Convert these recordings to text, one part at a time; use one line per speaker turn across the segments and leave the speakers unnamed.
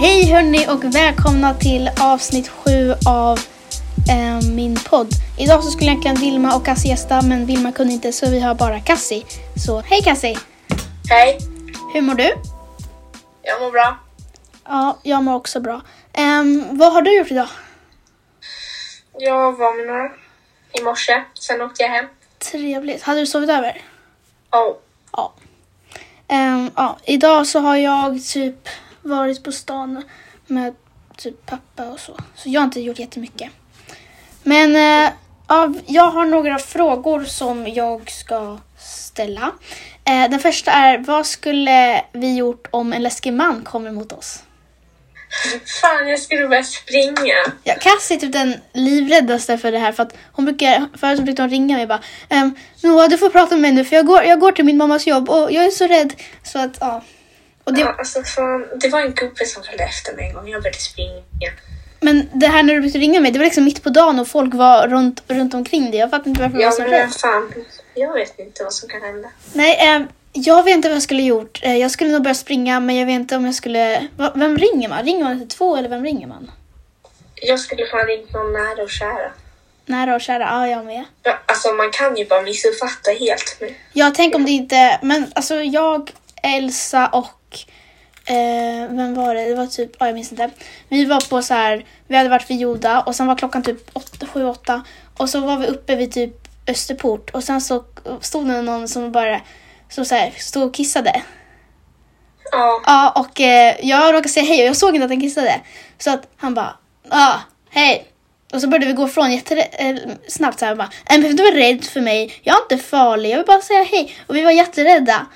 Hej hörni och välkomna till avsnitt 7 av eh, min podd. Idag så skulle egentligen Vilma och Cassie gästa men Vilma kunde inte så vi har bara Cassie. Så hej Cassie!
Hej,
Hur mår du?
jag mår bra.
Ja, jag mår också bra. Ehm, vad har du gjort idag?
Jag var med några i morse, sen åkte jag hem.
Trevligt. Hade du sovit över?
Oh,
Ja. Ehm, ja. Idag så har jag typ varit på stan med typ pappa och så. Så jag har inte gjort jättemycket. Men eh, ja, jag har några frågor som jag ska ställa. Eh, den första är, vad skulle vi gjort om en läskig man kommer mot oss?
fan, jag skulle börja springa.
Ja, Cassie är typ den livräddaste för det här för att hon brukar, förut så brukade hon ringa mig och bara ehm, Noah du får prata med mig nu för jag går, jag går till min mammas jobb och jag är så rädd. Så att ja. Och
Ja,
det,
alltså, fan, det var en gubbe som följde efter mig en gång, jag började springa.
men det här när du brukade ringa mig, det var liksom mitt på dagen och folk var runt, runt omkring dig. Jag fattar inte varför jag
Ja,
var så
men
rädd.
jag, fan, jag vet inte vad som kan hända.
Nej, ehm, jag vet inte vad jag skulle gjort. Eh, jag skulle nog börja springa men jag vet inte om jag skulle... Va, vem ringer man? Ringer man till två eller vem ringer man?
Jag skulle fan ringt någon nära och kära.
Nära och kära, ja jag med.
Ja, Alltså man kan ju bara missuppfatta helt. Men
Jag tänk om det inte, men alltså jag, Elsa och eh, vem var det? Det var typ, ja jag minns inte. Vi var på så här, vi hade varit vid Joda och sen var klockan typ 7-8 och så var vi uppe vid typ Österport och sen så stod det någon som bara som så här, stod och kissade.
ja,
Ja, och eh, jag råkade säga hej och jag såg inte att han kissade. Så att han bara, ja, hej. Och så började vi gå ifrån jätterä- eh, snabbt så här bara, nej men du är rädd för mig, jag är inte farlig, jag vill bara säga hej. Och vi var jätterädda.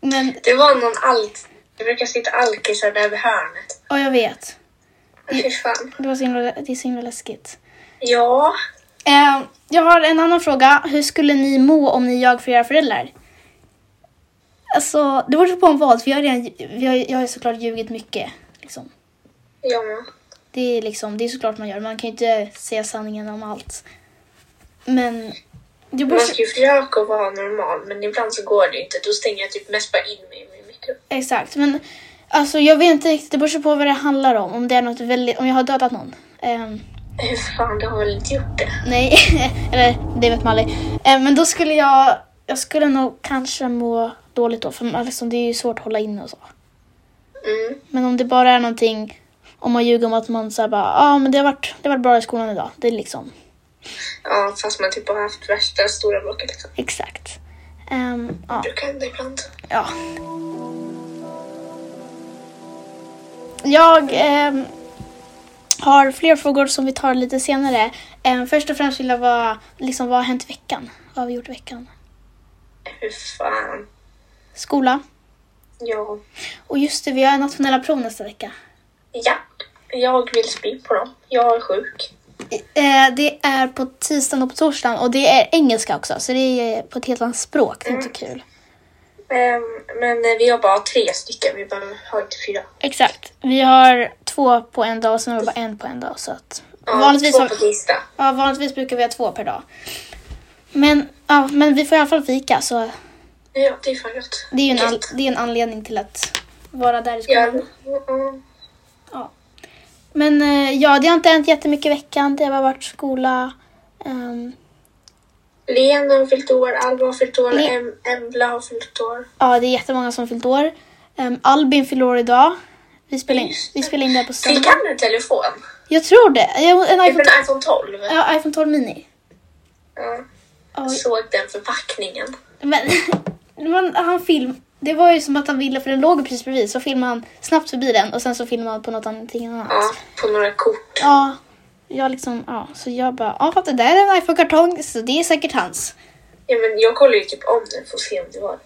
Men,
det var någon alk. Det brukar sitta alkisar där vid hörnet.
ja jag vet.
Fy fan.
Det var så himla, det är så himla läskigt.
Ja,
Eh, jag har en annan fråga, hur skulle ni må om ni jag för era föräldrar? Alltså, det beror på om vad, för jag har, redan, jag, har- jag har såklart ljugit mycket. Liksom.
jag med.
Det är liksom, det är såklart man gör. Man kan ju inte säga sanningen om allt. Men... Det
Man
beror,
ska ju försöka att vara normal, men ibland så går det ju inte. Då stänger jag typ mest bara in mig i min mikrofon.
exakt, men alltså jag vet inte riktigt. Det beror på vad det handlar om. Om det är något väldigt, om jag har dödat någon. Ehm,
Hur fan, du har väl inte gjort det?
nej, eller det vet man aldrig. Ehm, men då skulle jag, jag skulle nog kanske må dåligt då. För man- liksom, det är ju svårt att hålla inne och så.
Mm.
Men om det bara är någonting, om man ljuger om att man säger bara, ja ah, men det har, varit, det har varit bra i skolan idag. Det är liksom,
Ja, fast man typ har haft värsta stora bråket liksom.
exakt. Ehm, ja.
Det kan hända ibland.
Ja. Jag ehm, har fler frågor som vi tar lite senare. Ehm, först och främst vill jag vara, liksom, vad har hänt i veckan? Vad har vi gjort i veckan?
Hur fan.
Skola.
Ja.
Och just det, vi har nationella prov nästa vecka.
Ja. Jag vill spy på dem. Jag är sjuk.
Eh, det är på tisdagen och på torsdagen och det är engelska också, så det är på ett helt annat språk. Det är inte kul.
Ehm, men eh, vi har bara tre stycken. Vi bara har inte fyra.
Exakt. Vi har två på en dag och sen har vi bara en på en dag. Så att
Ja,
vanligtvis
två
har...
på tisdag.
Ja, vanligtvis brukar vi ha två per dag. Men, ja, men vi får i alla fall fika så
Ja, det är fan gott.
det är ju en, an-
Gött.
det är en anledning till att vara där i
Ja.
skolan.
mm,
Men eh, ja, det har inte hänt jättemycket i veckan. Det har bara varit skola. Ehm,
Lena har fyllt år, Alva har fyllt år,
Le-
em- Embla har fyllt år.
ja, det är jättemånga som fyllt år. Ehm, Albin fyller år idag. Vi spelar in, vi spelar in det här på
Fick
söndag.
han en telefon?
Jag tror det. Jag- En
Typ
iPhone,
en iPhone 12?
ja, iPhone 12 mini.
Ja.
Ja,
Jag såg den förpackningen.
Men man, han film, det var ju som att han ville, för den låg precis bredvid, så filmade han snabbt förbi den och sen så filmade han på något annat. annat.
Ja, på några kort.
Ja, jag liksom, ja, så jag bara, ja fast det där är en iPhone-kartong så det är säkert hans.
Ja, men jag kollade ju typ om den för att se om det var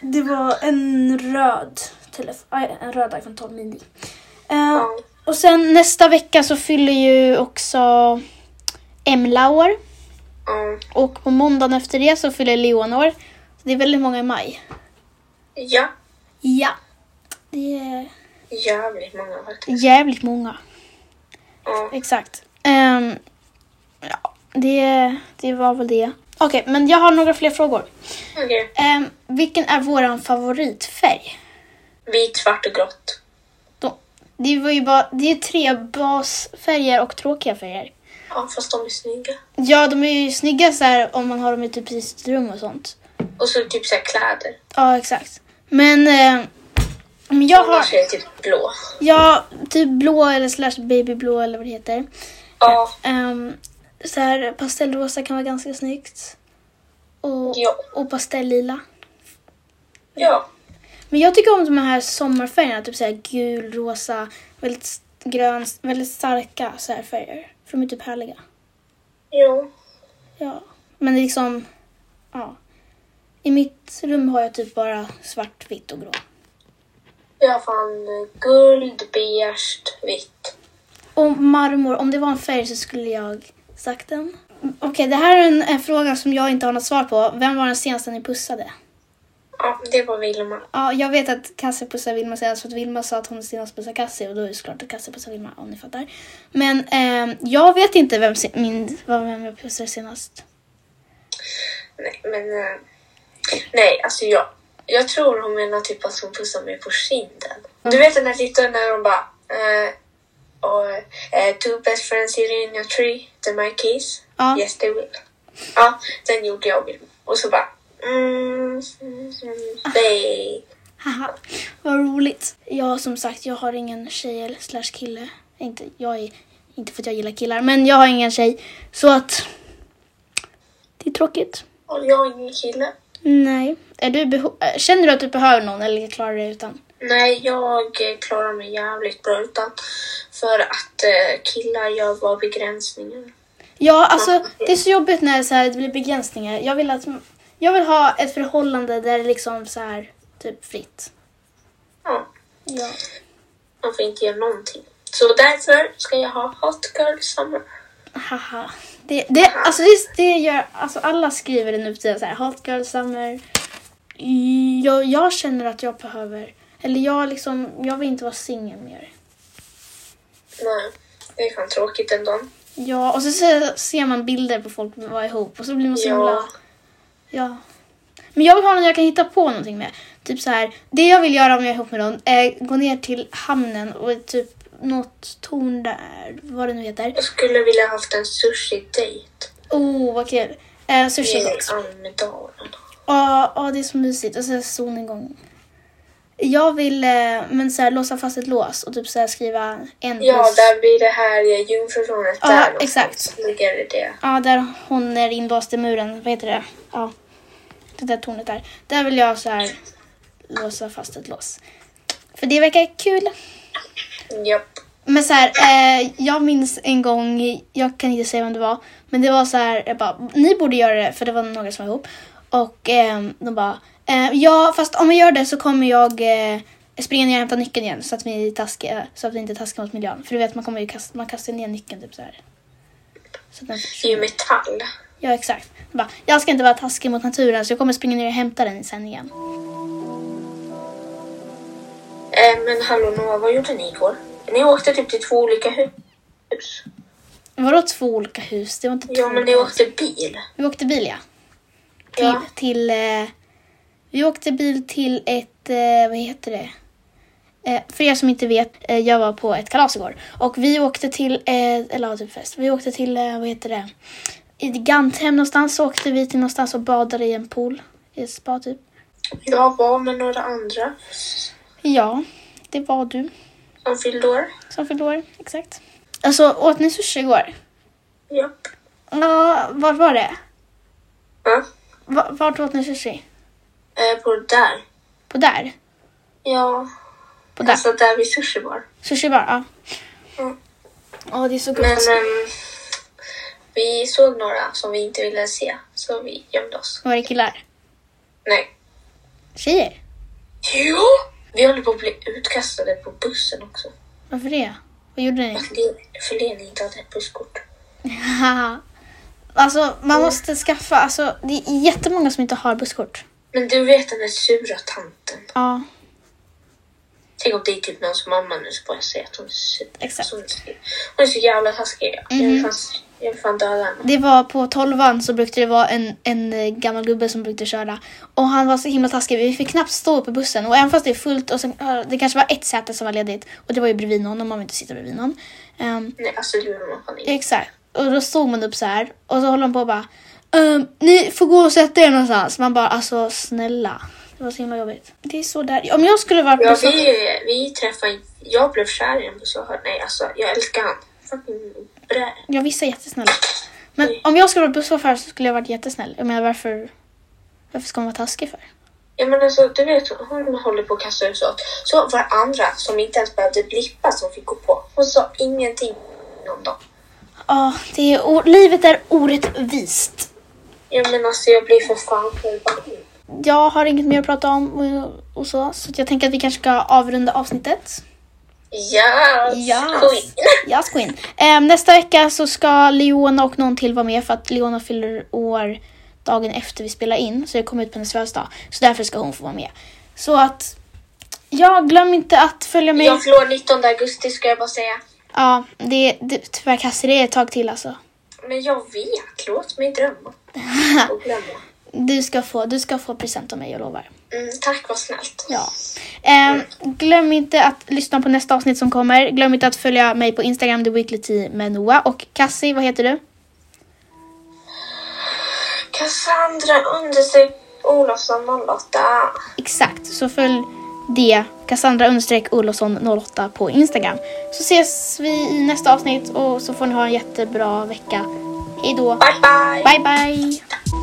Det var en röd telefon, en röd iPhone 12 mini. Eh,
Ja.
Och sen nästa vecka så fyller ju också Emla år
Ja.
och på måndagen efter det så fyller Leon år. Så det är väldigt många i maj.
Ja,
Ja. Det är
jävligt många faktiskt.
jävligt många.
Ja.
Exakt. Ehm, ja, det, det var väl det. Okej, men jag har några fler frågor.
Okej.
Ehm, vilken är våran favoritfärg?
Vit, svart och grått.
Då, det, var ju bara, det är tre basfärger och tråkiga färger.
Ja, fast de är snygga.
Ja, de är ju snygga så här om man har dem i typ i sitt rum och sånt.
Och så typ så här kläder.
Ja, exakt. Men, eh, men jag har
Annars är det typ blå.
ja, typ blå eller slash babyblå eller vad det heter.
Ja,
Ehm, så här, pastellrosa kan vara ganska snyggt. Och,
ja,
och pastellila.
ja.
Men jag tycker om de här sommarfärgerna, typ så här gul, rosa, väldigt s- grön, s- väldigt starka så här färger. För de är typ härliga.
Jo.
Ja. Men det är liksom, ja. I mitt rum har jag typ bara svart, vitt och grå.
Jag har fan guld, beige, vitt.
Och marmor, om det var en färg så skulle jag sagt den. Mm, Okej, det här är en, en fråga som jag inte har något svar på. Vem var den senaste ni pussade?
Ja, det var Vilma.
Ja, jag vet att Kasse pussade Vilma senast för att Vilma sa att hon senast pussade Kasse och då är det såklart att Kasse pussade Vilma om ni fattar. Men ehm, jag vet inte vem, se- min, vad- vem jag pussade senast.
Nej, men... eh, Nej, alltså jag, jag tror hon menar typ att hon pussar mig på kinden. Du vet den där titeln när hon bara... eh, och, eh, two best friends sitting in your tree, they my kiss.
Ja.
Yes they will. Ja, den gjorde jag och Vilma. Och så bara... Mm, mm, mm, babe.
Haha, vad roligt. Ja, som sagt, jag har ingen tjej eller slash kille. Inte, jag är, inte för att jag gillar killar, men jag har ingen tjej. Så att det är tråkigt.
Och jag är ingen kille.
Nej. Är du beho- äh, Känner du att du behöver någon eller klarar du dig utan?
Nej, jag eh, klarar mig jävligt bra utan. För att eh, killar gör bara begränsningar.
Ja, alltså det är så jobbigt när så här, det blir begränsningar. Jag vill, att, jag vill ha ett förhållande där det liksom så här, typ fritt.
Ja,
Ja.
man får inte göra någonting. Så därför ska jag ha Hot Girl Summer.
Haha. Det, det, alltså det, det gör, alltså alla skriver det nu för tiden så här, hot girl summer. Jag, jag känner att jag behöver, eller jag liksom, jag vill inte vara singel mer.
Nej, det är fan tråkigt ändå.
Ja, och så ser, ser man bilder på folk som var ihop och så blir man så himla...
Ja,
Ja. Men jag vill ha någon jag kan hitta på någonting med. Typ så här, det jag vill göra om jag är ihop med någon är gå ner till hamnen och typ något torn där, vad det nu heter.
jag skulle vilja haft en sushi-dejt
Oh, vad kul. Eh,
i
sushi dags.
Almedalen.
Ja, ja, det är så mysigt. Och så solnedgång. Jag vill eh, men så här, låsa fast ett lås och typ så här, skriva en plus.
Ja, där vid det här eh, jungfrutornet.
Ja,
där någonstans
exakt.
Ligger det.
Ja, där hon är inlåst i muren. Vad heter det? Ja, det där tornet där. Där vill jag så här låsa fast ett lås. För det verkar kul.
Japp.
Men så här, eh, jag minns en gång, jag kan inte säga vem det var, men det var så här, jag bara, ni borde göra det för det var några som var ihop. Och eh, de bara, eh, ja fast om vi gör det så kommer jag eh, springa ner och hämta nyckeln igen så att vi, är taskiga, så att vi inte taskar mot miljön. För du vet man kommer ju kasta, man kastar ner nyckeln typ så här. Så att den
Det är ju
försvinner.
metall.
Ja exakt. De bara, jag ska inte vara taskig mot naturen så jag kommer springa ner och hämta den sen igen.
Eh, men hallå Noah, vad gjorde ni igår? Ni åkte typ till två olika hus.
Vadå två olika hus? Det var inte två
Ja, men ni
olika
åkte bil.
Vi åkte bil ja. Till,
Ja.
till eh, vi åkte bil till ett, eh, vad heter det? Eh, för er som inte vet, eh, jag var på ett kalas igår. Och vi åkte till, eh, eller ja, typ fest, vi åkte till, eh, vad heter det? I Ganthem någonstans så åkte vi till någonstans och badade i en pool. I ett spa typ.
Jag var med några andra
Ja, det var du
som fyllde år.
som fyllde år, exakt. Alltså åt ni sushi igår?
Japp.
Ja, vart var det?
Ja.
Va- Vart åt ni sushi?
Eh, på där.
På där?
Ja,
På där?
alltså där vid sushi bar.
Sushi bar, ja.
Mm.
Ja, det är så gott.
Men ehm, vi såg några som vi inte ville se, så vi gömde oss.
Var det killar?
Nej.
Tjejer?
Jo! Vi håller på att bli utkastade på bussen också.
Varför det? Vad gjorde ni?
För Le- För Lena inte hade ett busskort.
Haha. alltså, man måste skaffa... Alltså, det är jättemånga som inte har busskort.
Men du vet den där sura tanten.
Ja,
Tänk om det är typ någons mamma nu så får jag säga att hon är sur.
Exakt.
Så Hon är så- hon är så jävla taskig. Jag vill
Mhm.
fan s- Jag vill fan döda henne.
Det var på tolvan så brukade det vara en, en eh, gammal gubbe som brukade köra. Och han var så himla taskig, vi fick knappt stå upp i bussen. Och även fast det är fullt och sen, eh, det kanske var ett säte som var ledigt. Och det var ju bredvid någon och man vill inte sitta bredvid någon. Ehm,
Nej, alltså det gjorde man fan inte.
Exakt. Och då stod man upp så här och så håller de på och bara ehm, Ni får gå och sätta er någonstans. Man bara alltså snälla. Det var så himla jobbigt. Det är så där. Om jag skulle vara på
Ja,
så-
vi, vi träffade... Jag blev kär i en bussförare. Nej, alltså jag älskar han. Fucking brä.
Ja, vissa är jättesnälla. Men om jag skulle vara busschaufför så skulle jag varit jättesnäll. Jag menar varför, varför ska man vara taskig för?
Ja men alltså du vet hon håller på att kasta ut sånt. Så var andra som inte ens behövde blippa som fick gå på. Hon sa ingenting någon dag.
Ja, det är o- livet är orättvist.
Ja men alltså jag blir för fan förbannad.
Jag har inget mer att prata om och, och så. Så att jag tänker att vi kanske ska avrunda avsnittet.
Ja!
Ja.
Queen.
Ja, Queen. Ehm, nästa vecka så ska Leona och någon till vara med för att Leona fyller år dagen efter vi spelar in. Så det kommer ut på hennes födelsedag. Så därför ska hon få vara med. Så att, ja, glöm inte att följa med.
Jag förlorar 19 augusti ska jag bara säga.
Ja, det, det, tyvärr Kassi, det är ett tag till alltså.
Men jag vet, låt mig drömma. Och glömma.
Du ska få, du ska få present av mig, jag lovar.
Mm, tack vad snällt.
Ja. Ehm, glöm inte att lyssna på nästa avsnitt som kommer. Glöm inte att följa mig på Instagram, The Weekly Tea med Noah. Och Kassi, vad heter du?
Cassandra understreck Olofsson 08.
Exakt, så följ det. Cassandra understreck Olofsson 08 på Instagram. Så ses vi i nästa avsnitt och så får ni ha en jättebra vecka. Hej då.
Bye bye!
Bye bye.